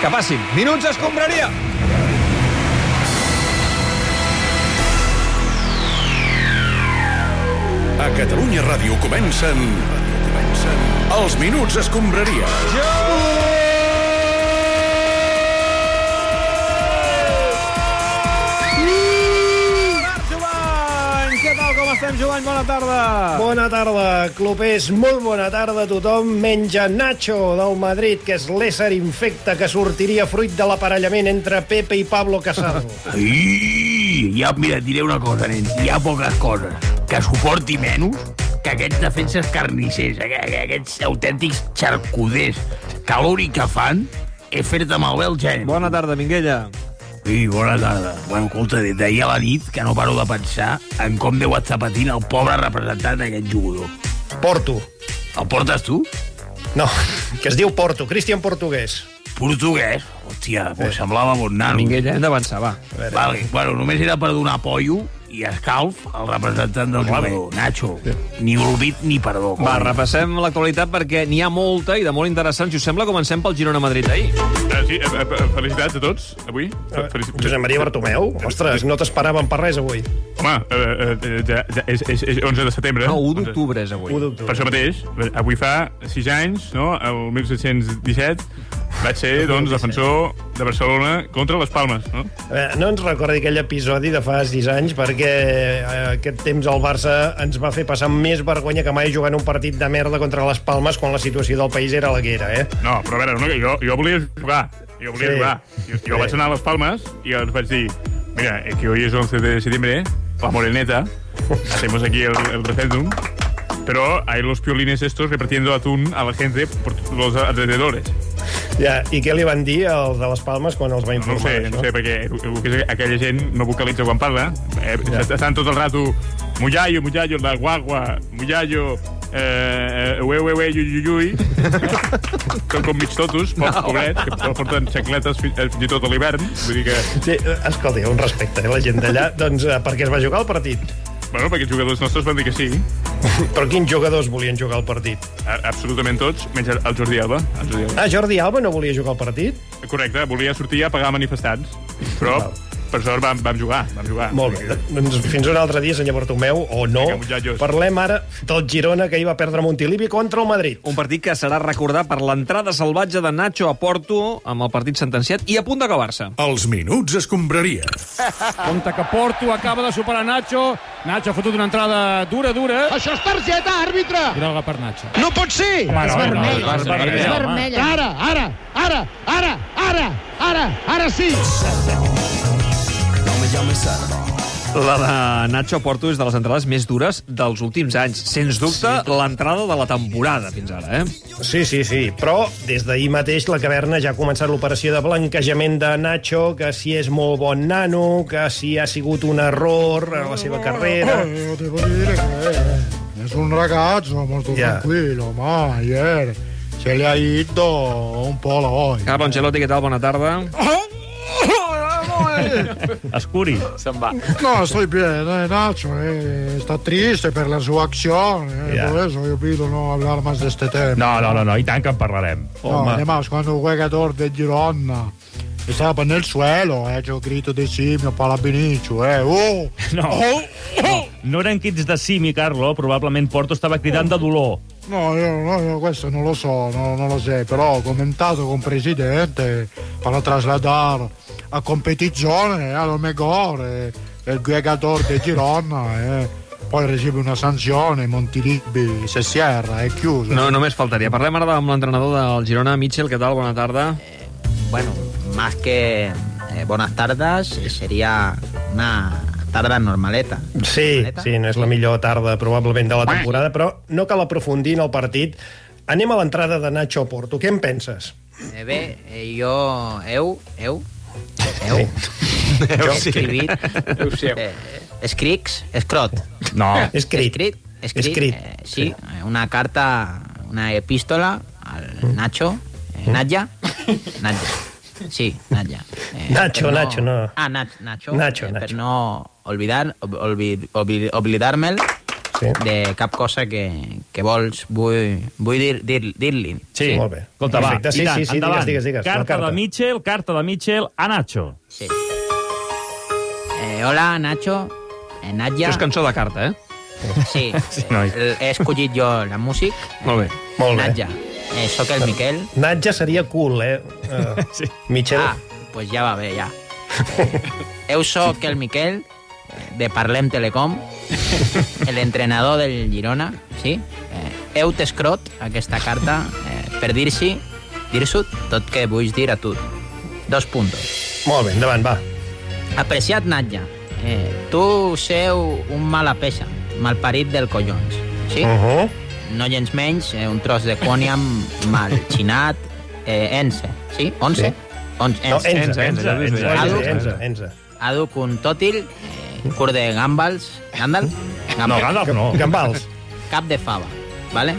que passin. Minuts escombraria! A Catalunya Ràdio comencen... comencen... Els Minuts Escombraria. Jovany! Què tal, com estem, Jovany? Bona tarda! Bona tarda, clubers. Molt bona tarda a tothom, menys a Nacho, del Madrid, que és l'ésser infecte que sortiria fruit de l'aparellament entre Pepe i Pablo Casado. Ai, ja, mira, et diré una cosa, nen. Hi ha poques coses que suporti menys que aquests defenses carnissers, aqu- aqu- aquests autèntics xarcuders. Calori que fan és fer-te malbé el gènere. Bona tarda, Minguella. Sí, bona tarda. Bueno, escolta, des d'ahir a la nit que no paro de pensar en com deu estar patint el pobre representant d'aquest jugador. Porto. El portes tu? No, que es diu Porto, Cristian Portuguès. Portuguès? Hòstia, pues semblava bon nano. Minguella, hem d'avançar, va. Vale, bueno, només era per donar pollo i escalf al representant del jugador, Nacho. Ni olvid ni perdó. Va, coi. repassem l'actualitat perquè n'hi ha molta i de molt interessant. Si us sembla, comencem pel Girona-Madrid ahir. Ah, sí, eh, eh, felicitats a tots, avui. Fe- felici- Eh, Josep Maria Bartomeu? Ostres, no t'esperaven per res avui. Home, eh, eh, ja, ja, és, és, és 11 de setembre. No, 11. 1 d'octubre és 1 avui. Per d'octubre. això mateix, avui fa 6 anys, no?, el 1717, vaig ser, doncs, defensor de Barcelona contra les Palmes, no? Eh, No ens recordi aquell episodi de fa 6 anys, perquè eh, aquest temps el Barça ens va fer passar més vergonya que mai jugant un partit de merda contra les Palmes quan la situació del país era la que era, eh? No, però a veure, no, que jo, jo volia jugar. Jo volia Sí. sí. jugar. Jo, jo Sí. sí. vaig anar a les Palmes i els vaig dir mira, eh, que hoy es 11 de septiembre, la moreneta, hacemos aquí el, el referéndum, pero hay los piolines estos repartiendo atún a la gente por los alrededores. Ja, I què li van dir als de les Palmes quan els va No ho informar? sé, d'això? no ho sé, perquè el que és aquella gent no vocalitza quan parla. Eh, Estan tot el rato mullallo, mullallo, la guagua, mullallo, eh, eh, ue, ue, ue, ui, ui, ui. Són com mig totos, pocs no. pobrets, que porten xacletes fins, eh, fins i tot a l'hivern. Vull dir que, Sí, eh, escolti, un respecte, eh, la gent d'allà. Doncs eh, per què es va jugar el partit? bueno, perquè els jugadors nostres van dir que sí, Però quins jugadors volien jugar el partit? a- absolutament tots, menys el Jordi Alba. El Jordi Alba. Ah, Jordi Alba no volia jugar el partit? Correcte, volia sortir a pagar manifestants, però per sort vam, vam jugar, vam jugar. Molt bé. Doncs fins un altre dia, senyor Bartomeu, o no. Vinga, muchachos. Parlem ara del Girona, que hi va perdre a Montilivi contra el Madrid. Un partit que serà recordat per l'entrada salvatge de Nacho a Porto amb el partit sentenciat i a punt d'acabar-se. Els Minuts Escombraria. Compte que Porto acaba de superar Nacho. Nacho ha fotut una entrada dura, dura. Això és targeta, àrbitre! Groga per Nacho. No pot ser! Home, no, no, vermell. no, és vermell, És home. vermella. Ara, ara, ara, ara, ara, ara, ara sí! La de Nacho a Porto és de les entrades més dures dels últims anys. Sens dubte, l'entrada de la temporada fins ara, eh? Sí, sí, sí. Però des d'ahir mateix la caverna ja ha començat l'operació de blanquejament de Nacho, que si és molt bon nano, que si ha sigut un error a la seva carrera... Yo te voy a decir que es un ragazzo molto Yeah. tranquillo, ma ayer se le ha ido un po' la voglia. Carlo Ancelotti, què tal? Bona tarda. Ah. No, sto bene, eh, Nacho eh, sta triste per la sua azione, eh, Yeah. por eso yo pido no hablar más de este tema. No, no, Oh, no, no, i tant que en parlarem. No, además, cuando un jugador de Girona estaba nel suelo, eh, yo grito de simio para Benicio, eh, oh! No. No eren crits de simi, Carlo. Probablement Porto estava cridant de dolor. No, io, no, io questo non lo so, no- non lo so, però ho commentato con presidente per trasladare a competizione eh, allo Megore, eh, il Guegador di Girona, eh. poi riceve una sanzione, Montilibi, se Sierra è chiuso. No, només faltaria. Parlem ara amb l'entrenador del Girona, Mitchell, què tal? Bona tarda. Eh, Bueno, más que eh, buenas tardes, eh, sería una tarda normaleta. Sí, Neta? sí, no és la millor tarda probablement de la temporada, però no cal aprofundir en el partit. Anem a l'entrada de Nacho Porto. Què en penses? Eh, bé, eh, jo... Eu, eu, eu, heu escrivit... Eh, escrics, escrot. No. Escrit. Escrit, escrit, Escrit. eh, sí, eh, una carta, una epístola Mm. al Nacho, eh, Nadia, Nadia. Sí, Nadia. Eh, Nacho, per Nacho, no. Ah, Nach- Nacho. Nacho, eh, Per Nacho. no oblidar, ob, olvi- obli- oblidar-me'l Sí. de cap cosa que, que vols, vull, vull dir-li. Dir, dir dir-li. Sí. sí. Molt bé. Escolta, Perfecte, va, sí, i tant, sí, sí, endavant. digues, digues, digues, la carta, carta. de Mitchell, carta de Mitchell a Nacho. Sí. Eh, hola, Nacho. Eh, Natja. Això és cançó de carta, eh? Sí. Sí, noi. Eh, He escollit jo la músic. Molt bé. Molt bé. Natja. Eh, sóc el Miquel. Natja seria cool, eh? Uh, sí. Michel... Ah, pues ja va bé, ja. Eu sóc el Miquel, de Parlem Telecom, l'entrenador del Girona, sí? Eh, Eu t'escrot aquesta carta eh, per dir-s'hi, dir-s'ho tot que vull dir a tu. Dos puntos. Molt bé, endavant, va. Apreciat Natja, eh, tu seu un mala peça, malparit del collons, sí? Uh-huh. Uh -huh. No gens menys, eh, un tros de quòniam mal xinat, eh, ense, sí? Onze? Sí. Onze, No, Enza, Enza, Enza, Enza, Adu, Enza, Enza, Enza. ha duc un tòtil, eh, cur de gàmbals, gàndal? No, Gandalf no. Gambals. Cap de fava, vale?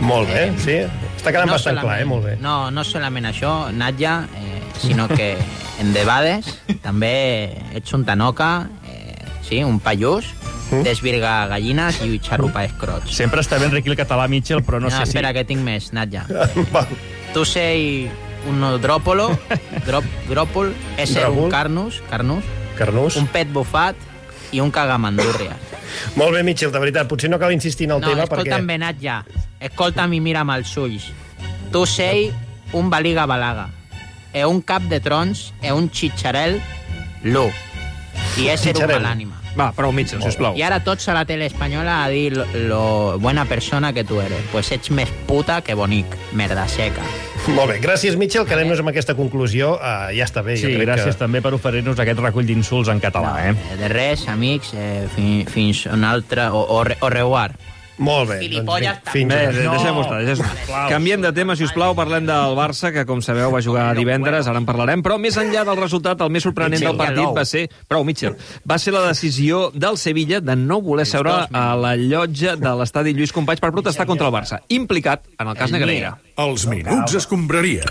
Molt bé, sí. Està quedant no bastant clar, eh? Molt bé. Eh, No, no solament això, Natja, eh, sinó que en debades també ets un tanoca, eh, sí, un pallús, Mm. desvirga gallines i xarrupa escrots. Sempre està ben requil el català Mitchell, però no, No, sé si... espera, que tinc més, Natja. Va. Tu sei un dròpolo, drop, dròpol, és Dròpol. un carnus, carnus, Carnús. un pet bufat i un cagamandúrria. Molt bé, Michel, de veritat. Potser no cal insistir en el No, tema perquè... escolta'm, Benat, ja. Escolta'm i mira'm els ulls. Tu sei un baliga balaga, e un cap de trons, e un xitxarel, l'u. I és ser Xitxarel. humà l'ànima. Va, prou mitja, sisplau. I ara tots a la tele espanyola a dir lo, lo bona persona que tu eres. Pues ets més puta que bonic, merda seca. Molt bé, gràcies, Michel. Quedem-nos amb aquesta conclusió. Uh, ja està bé. Sí, jo crec gràcies també per oferir-nos aquest recull d'insults en català, eh? Eh, De res, amics, eh, fins, fins un altre... O, o, re- o reguar. Que... Molt bé. Filipolles fi- fins Bé, ara. de- deixem-ho estar. Deixem Sisplau. Canviem de tema, si us plau, parlem del Barça, que com sabeu va jugar divendres, ara en parlarem, però més enllà del resultat, el més sorprenent del partit va ser, prou Mitchell, va ser la decisió del Sevilla de no voler seure a la llotja de l'estadi Lluís Companys per protestar contra el Barça, implicat en el cas Negreira. Els minuts escombraria.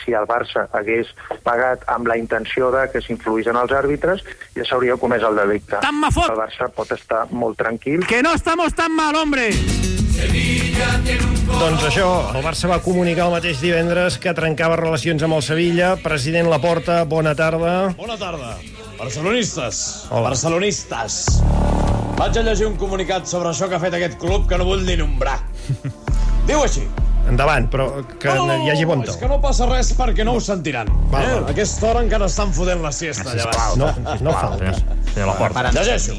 si el Barça hagués pagat amb la intenció de que s'influïssin els àrbitres, ja s'hauria comès el delicte. Tant me fot! El Barça pot estar molt tranquil. Que no estamos tan mal, hombre. Doncs això, el Barça va comunicar el mateix divendres que trencava relacions amb el Sevilla. President Laporta, bona tarda. Bona tarda, barcelonistes, Hola. barcelonistes. Vaig a llegir un comunicat sobre això que ha fet aquest club que no vull ni nombrar. Diu així. Endavant, però que No, Oh! hi hagi bon és to. que no passa res perquè no ho sentiran. Val, eh? val. A aquesta hora encara estan fotent la siesta allà baix. Ah, No, no falta. Sí, a la porta. Llegeixo.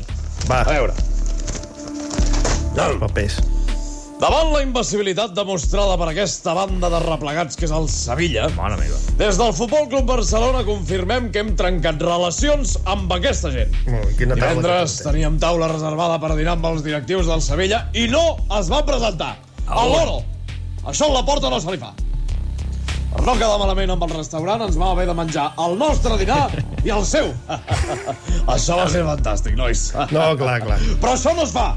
Va, A veure. els papers. Davant la imbecilitat demostrada per aquesta banda de replegats que és el Sevilla, Mare meva. des del Futbol Club Barcelona confirmem que hem trencat relacions amb aquesta gent. Molt bé, Quina tarda. Divendres teníem taula reservada per dinar amb els directius del Sevilla i no es van presentar. A l'hora. Això en la porta no se li fa. Per no quedar malament amb el restaurant, ens vam haver de menjar el nostre dinar i el seu. això va ser fantàstic, nois. No, clar, clar. Però això no es fa.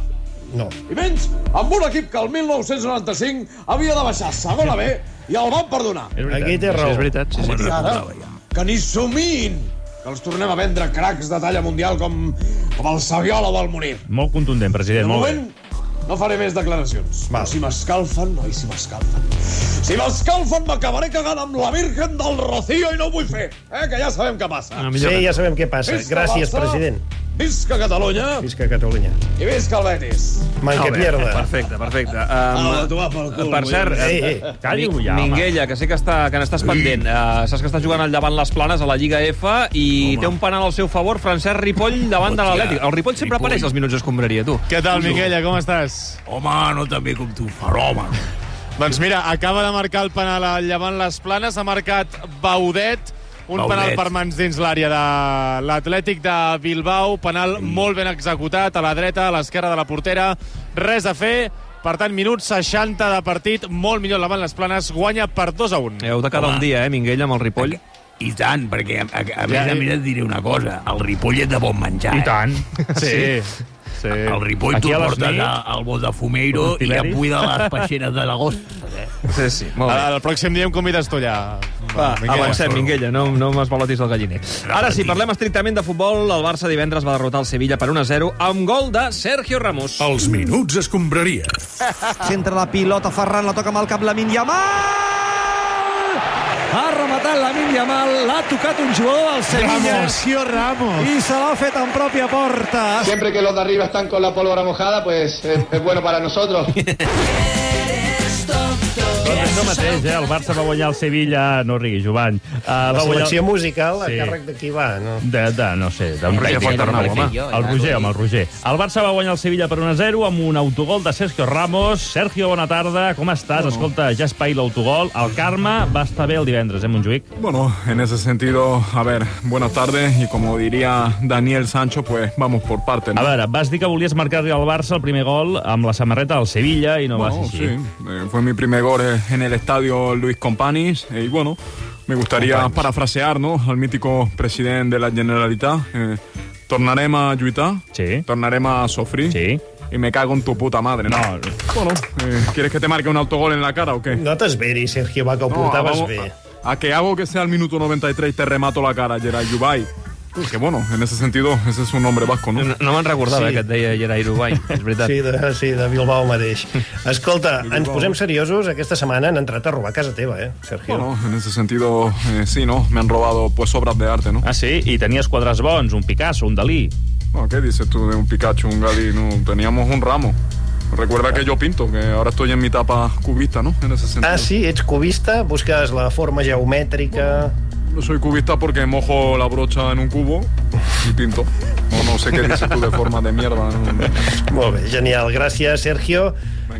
No. I menys amb un equip que el 1995 havia de baixar a segona B i el van perdonar. Aquí té raó. Sí, és veritat, sí, I sí. ara, que ni somin que els tornem a vendre cracs de talla mundial com, com el Saviola o el Munir. Molt contundent, De president. Molt bé. moment, no faré més declaracions. Val. Però si m'escalfen, noi, si m'escalfen. Si m'escalfen, m'acabaré cagant amb la Virgen del Rocío i no ho vull fer, eh? que ja sabem què Ah, passa. Sí, ja sabem què passa. Visca Gràcies, Barça, president. Visca Catalunya Visca Catalunya. i visca el Betis. Manca Molt bé, mierda. Perfecte, perfecte. Ah, tu Um, va pel cul, per vull cert, dir. Eh, eh, eh. Callo ja, home. Minguella, que sé que, està, que n'estàs pendent. Uh, saps que està jugant al davant les planes a la Lliga F i té un penal al seu favor, Francesc Ripoll, davant de l'Atlètic. El Ripoll sempre Ripoll. apareix als minuts d'escombraria, tu. Què tal, Miquella, com estàs? Home, no també com tu, fenomen. Doncs mira, acaba de marcar el penal al Llevant Les Planes, ha marcat Baudet, un Baudet. penal per mans dins l'àrea de l'Atlètic de Bilbao, penal Mm. molt ben executat, a la dreta, a l'esquerra de la portera, res a fer, per tant, minut 60 de partit, molt millor el Llevant Les Planes, guanya per 2 a 1. Heu de quedar Home. un dia, eh, Minguella, amb el Ripoll. I tant, perquè a, a, a més a més eh. et diré una cosa, el Ripoll és de bon menjar. I eh? tant. Sí, sí. El Ripoll Aquí t'ho a les portes nits, a- al Botafumeiro el i a Tiberi. Puy de les Peixeres de l'Agost. Eh? Sí, sí, molt bé. El, el pròxim dia em convides tu allà. Va, Minguella. avancem, Minguella, no, no m'esbalotis el galliner. Ara, si parlem estrictament de futbol, el Barça divendres va derrotar el Sevilla per 1-0 amb gol de Sergio Ramos. Els minuts escombraria. Centra la pilota, Ferran la toca amb el cap Lamin Yamal! Ha rematat Lamin Yamal, l'ha tocat un jugador del Sevilla. Ramos. Sergio Ramos. I se l'ha fet en pròpia porta. Siempre que los de arriba están con la pólvora mojada, pues es, es bueno para nosotros. Això mateix, eh? El Barça va guanyar el Sevilla... No rigui, Jovany. Uh, La selecció musical a càrrec de qui va, no? De, de, no sé, d'un El Roger tècnic, Fontarnau, no, home. El Roger, home, el Roger. El Barça va guanyar el Sevilla per 1-0 amb un autogol de Sergio Ramos. Sergio, bona tarda, com estàs? Escolta, ja és païl l'autogol. El Carme va estar bé el divendres, eh, Montjuïc? Bueno, en ese sentido, a ver, buenas tardes y como diría Daniel Sancho, pues vamos por partes. ¿no? A veure, vas dir que volies marcar-li al Barça el primer gol amb la samarreta del Sevilla i no Bueno, va ser sí, així. eh, fue mi primer gol eh, en el estadio Luis Companys eh, y bueno, me gustaría parafrasear ¿no? al mítico presidente de la Generalitat, eh, tornaremos a lluitar, tornaremos a sufrir y me cago en tu puta madre. ¿no? Bueno, eh, ¿quieres que te marque un autogol en la cara o qué? No t'esveris, Sergio, va, que ho No, portaves vamos- bé. A, a que hago que sea el minuto 93 y te remato la cara, Gerard Yubay. Que bueno, en ese sentido, ese es un nombre vasco, ¿no? No eh, me'n recordava, sí. que et deia Gerard Uruguai, és veritat. Sí, de, sí, de Bilbao mateix. Escolta, ens posem seriosos. Aquesta setmana han entrat a robar a casa teva, eh, Sergio? Bueno, en ese sentido, eh, sí, ¿no? Me han robado pues obras de arte, ¿no? Ah, sí, y tenías cuadras bons, un Picasso, un Dalí. No, ¿qué dices tú de un Pikachu, un Dalí? No, teníamos un ramo. Recuerda Ah. que yo pinto, que ahora estoy en mi etapa cubista, ¿no? En ese sentido. Ah, sí? Ets cubista? Busques la forma geomètrica... Yo soy cubista porque mojo la brocha en un cubo y pinto. No, no sé qué dices tú de forma de mierda. Molt bé, genial. Gràcies, Sergio.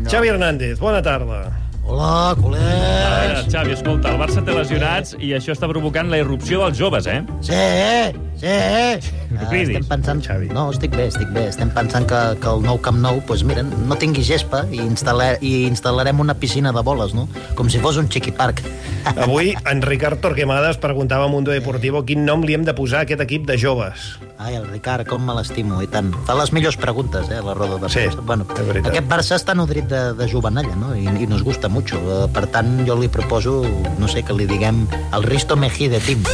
Xavi Hernández, bona tarda. Hola, culers! A veure, Xavi, escolta, el Barça té lesionats i això està provocant la irrupció dels joves, eh? Sí, eh? Sí, eh? No cridis. estem pensant... Xavi. No, estic bé, estic bé. Estem pensant que, que el nou Camp Nou, doncs, mira, no tingui gespa i, instal·la... i instal·larem una piscina de boles, no? Com si fos un chiquiparc. Avui, en Ricard Torquemada es preguntava a Mundo Deportivo quin nom li hem de posar a aquest equip de joves. Ai, el Ricard, com me l'estimo, i tant. Fa les millors preguntes, eh, a la roda de premsa. bueno, aquest Barça està nodrit de, de jovenalla, no? I, I nos gusta mucho. Eh, Per tant, jo li proposo, no sé, que li diguem el Risto Mejí de Tim.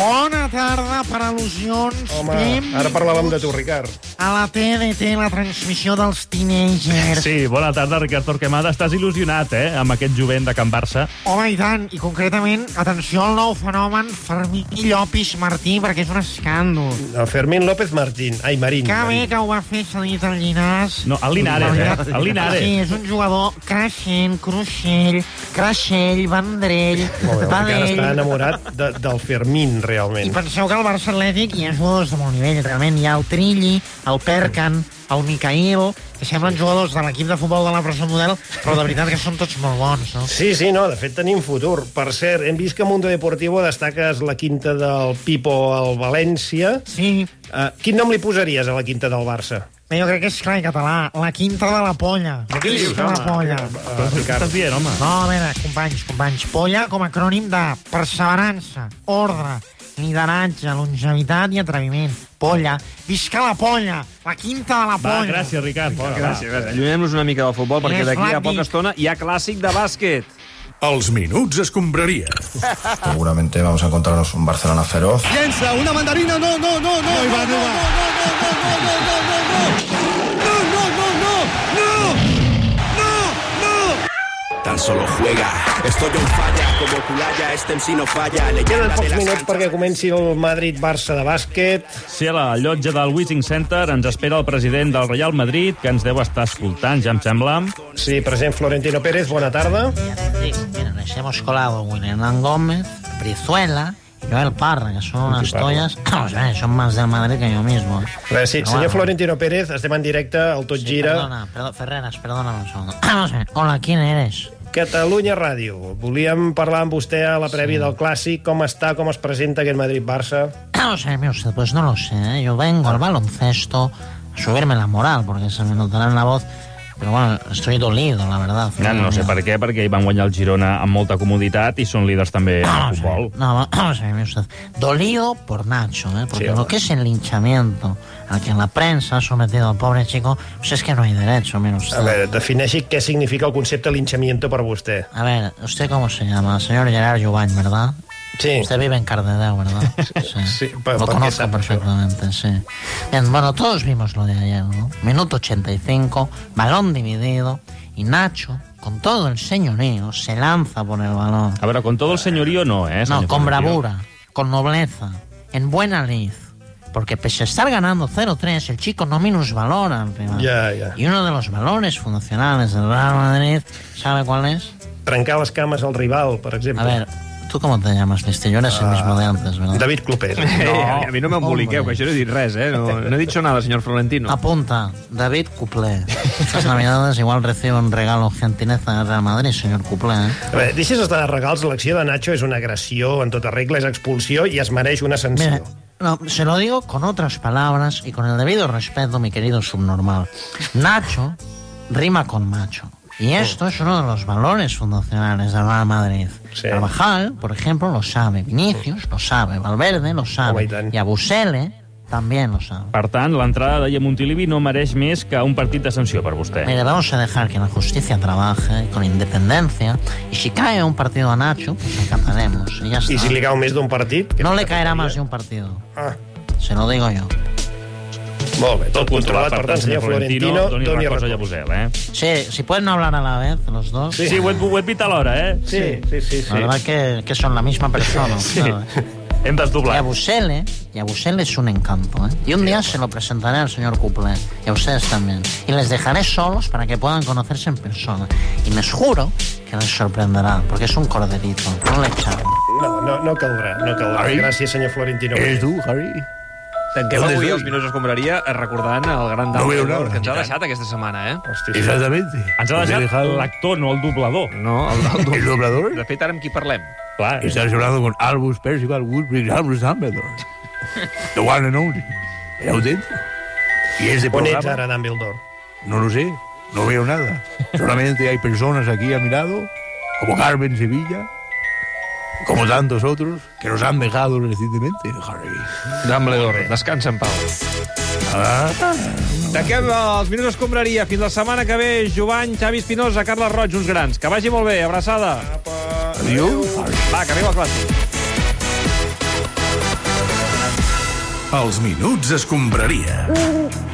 Bona tarda per al·lusions. Home, Tim. ara parlàvem de tu, Ricard. A la TDT, la transmissió dels teenagers. Sí, bona tarda, Ricard Torquemada. Estàs il·lusionat, eh, amb aquest jovent de Can Barça. Home, i tant, i concretament, atenció al nou fenomen Fermí Llopis Martí, perquè és un escàndol. El Fermín López Martín. Ai, Marín. Que bé Marín. que ho va fer cedit al Llinars. No, al Linares, eh? Al Linares. Sí, és un jugador creixent, cruixell, creixell, vendrell, Molt bé, el Ricard està padell... enamorat de, del Fermín, I realment. penseu que al Barça Atlètic hi ha jugadors de molt nivell, realment. Hi ha el Trilli, el Perkan, el Micail, que semblen jugadors de l'equip de futbol de la presó model, però de veritat que són tots molt bons, no? Sí, sí, no, de fet tenim futur. Per cert, hem vist que Mundo Deportivo destaques la quinta del Pipo al València. Sí. Uh, quin nom li posaries a la quinta del Barça? Bé, jo crec que és clar en català. La quinta de la polla. Però què dius, Quinta de la home? Eh, polla. Però què estàs dient, home? No, a veure, companys, companys. Polla com a acrònim de perseverança, ordre, lideratge, longevitat i atreviment. Polla. Visca la polla! La quinta de la Va, eh? polla! gràcies, Ricard. Bona, gràcies, gràcies. Allunyem-nos una mica del futbol, perquè Més d'aquí a ràpid. poca estona hi ha clàssic de bàsquet. Els minuts escombraria. Seguramente vamos a encontrarnos un Barcelona feroz. Llença, una mandarina, no, no, no, no, no, no, no, no, no, no, no, no, no, no, no, no, Tan solo juega. Estoy on falla, como Culaya, este MC no falla. Queden Leyenda de pocs la minuts perquè comenci el Madrid-Barça de bàsquet. Sí, a la llotja del Wishing Center ens espera el president del Real Madrid, que ens deu estar escoltant, ja em sembla. Sí, president Florentino Pérez, bona tarda. Sí, mira, nos hemos colado Will Hernán Gómez, Brizuela y Joel Parra, que son unas tollas... Vamos, eh, son más del Madrid que yo mismo. Res, sí, Pero senyor bueno. Florentino Pérez, estem en directe al Tot Gira. Perdona, perdó, Ferreras, perdóname un segundo. Vamos a ver. Hola, ¿quién eres? Catalunya Ràdio. Volíem parlar amb vostè a la prèvia del Clàssic. Com està, com es presenta aquest Madrid-Barça? Vamos a ver, mire usted, pues no lo sé, ¿eh? Yo vengo al baloncesto a subirme la moral, porque se me notará en la voz Pero bueno, estoy dolido, la verdad. No, Ah, no sé per què, perquè hi van guanyar el Girona amb molta comoditat i són líders també en Ah, el futbol. No, vamos a ver, mire usted. Dolido por Nacho, ¿eh? porque Sí, lo que es el linchamiento al que la prensa ha sometido al pobre chico, pues es que no hay derecho, mire usted. A veure, defineixi què significa el concepte linchamiento per vostè. A ver, ¿usted cómo se llama? Señor Gerard Jubany, ¿verdad? Sí. Usted vive en Cardedeu, ¿verdad? Sí. pues, lo ¿por qué conozco tanto? perfectamente, sí. Bien, bueno, todos vimos lo de ayer, ¿no? Minuto 85, balón dividido, y Nacho, con todo el señorío, se lanza por el balón. A veure, con todo el senyorio no, eh? No, senyor con Florentino. bravura, con nobleza, en buena lid. Porque pese a estar ganando 0-3, el chico no minusvalora al rival. Ja, ja. Y uno de los valores fundacionales del Real Madrid, ¿sabe cuál es? Trencar les cames al rival, per exemple. A ver, ¿tú cómo te llamas, Listo? Yo eres el mismo de antes, ¿verdad? David Clopés. No, a mi no m'emboliqueu, que això no he dit res, eh? No, no he dit nada, senyor Florentino. Apunta, David Cuplé. Estas navidades igual recibo un regalo gentileza del Real Madrid, señor Cuplé. ¿eh? A veure, deixis estar de regals, l'acció de Nacho és una agressió, en tota regla és expulsió i es mereix una sanció. Mira, no, se lo digo con otras palabras y con el debido respeto, mi querido subnormal. Nacho rima con macho. Y esto es uno de los valores fundacionales del Real Madrid. Carvajal, por ejemplo, lo sabe. Vinicius lo sabe. Valverde lo sabe. y Abusele también lo sabe. Per tant, l'entrada de Montilivi no mereix més que un partit de sanció per vostè. Mire, vamos a dejar que la justicia trabaje con independencia. Y si cae un partido a Nacho, pues encantaremos. Y ya está. I si li cau més d'un partit... No le caerá más de un partido. Ah. Se lo digo yo. Molt bé, tot controlat. Per tant, senyor Florentino, doni doni recolza a recolzament. Busel, eh? Sí, si pueden hablar a la vez, los dos. Sí, sí ho, he, ho he dit alhora, eh? Sí, La verdad que, que son la misma persona. Sí. claro. Hem Y desdoblat. a Busele, y a Busele es un encanto. ¿eh? Y un día se lo presentaré al señor Cuplé y a ustedes también. Y les dejaré solos para que puedan conocerse en persona. Y les juro que les sorprenderá, porque es un corderito. No le echaron. No, no, no caldrà, no caldrà. Harry? Gràcies, senyor Florentino. Eres tu, Harry? Tanquem Joder, avui Déu. els minuts d'escombraria recordant el gran No Dan veo Taylor, nada. que ens ha deixat aquesta setmana, eh? Hosti, Exactamente. Ens ha deixat l'actor, no el doblador. No, el, el, el doblador? De fet, ara amb qui parlem? Clar. Estás hablando con Albus Percival Woodbridge Albus Dumbledore. The one and only. Era auténtico. Y ese On ets programa- ara, Dumbledore? No lo sé, no veo nada. Solamente hay personas aquí a mi lado, como Carmen Sevilla, como tantos otros, que nos han dejado recientemente, Harry. Dumbledore, descansa en pau. Ah, Tanquem els minuts d'escombraria. Fins la setmana que ve, Jovany, Xavi Espinosa, Carles Roig, uns grans. Que vagi molt bé, abraçada. Adéu. Va, que arriba el clàssic. Els minuts escombraria.